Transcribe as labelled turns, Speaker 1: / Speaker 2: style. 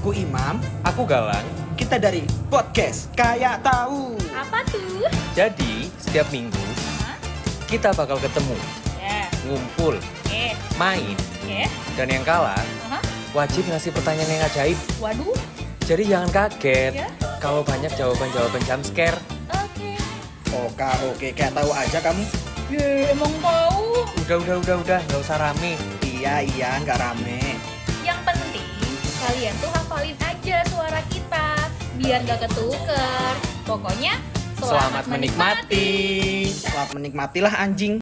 Speaker 1: Aku Imam,
Speaker 2: Aku Galang.
Speaker 1: kita dari podcast Kayak Tahu.
Speaker 3: Apa tuh?
Speaker 2: Jadi, setiap minggu
Speaker 3: Hah?
Speaker 2: kita bakal ketemu,
Speaker 3: Ya, eh,
Speaker 2: ngumpul,
Speaker 3: oke,
Speaker 2: main,
Speaker 3: oke.
Speaker 2: dan yang kalah
Speaker 3: Aha.
Speaker 2: wajib ngasih pertanyaan yang ajaib.
Speaker 3: Waduh,
Speaker 2: Jadi jangan kaget
Speaker 3: Ya.
Speaker 2: kalau banyak jawaban-jawaban jump scare.
Speaker 3: oke.
Speaker 1: Oke, oke, kayak tahu aja kamu.
Speaker 3: Ye, emang tahu.
Speaker 2: Udah, udah, udah, udah, nggak usah rame.
Speaker 1: Iya, iya, nggak rame.
Speaker 3: Yang penting kalian tuh hafalin aja suara kita biar gak ketuker. Pokoknya
Speaker 2: Selamat menikmati.
Speaker 1: Selamat menikmatilah anjing.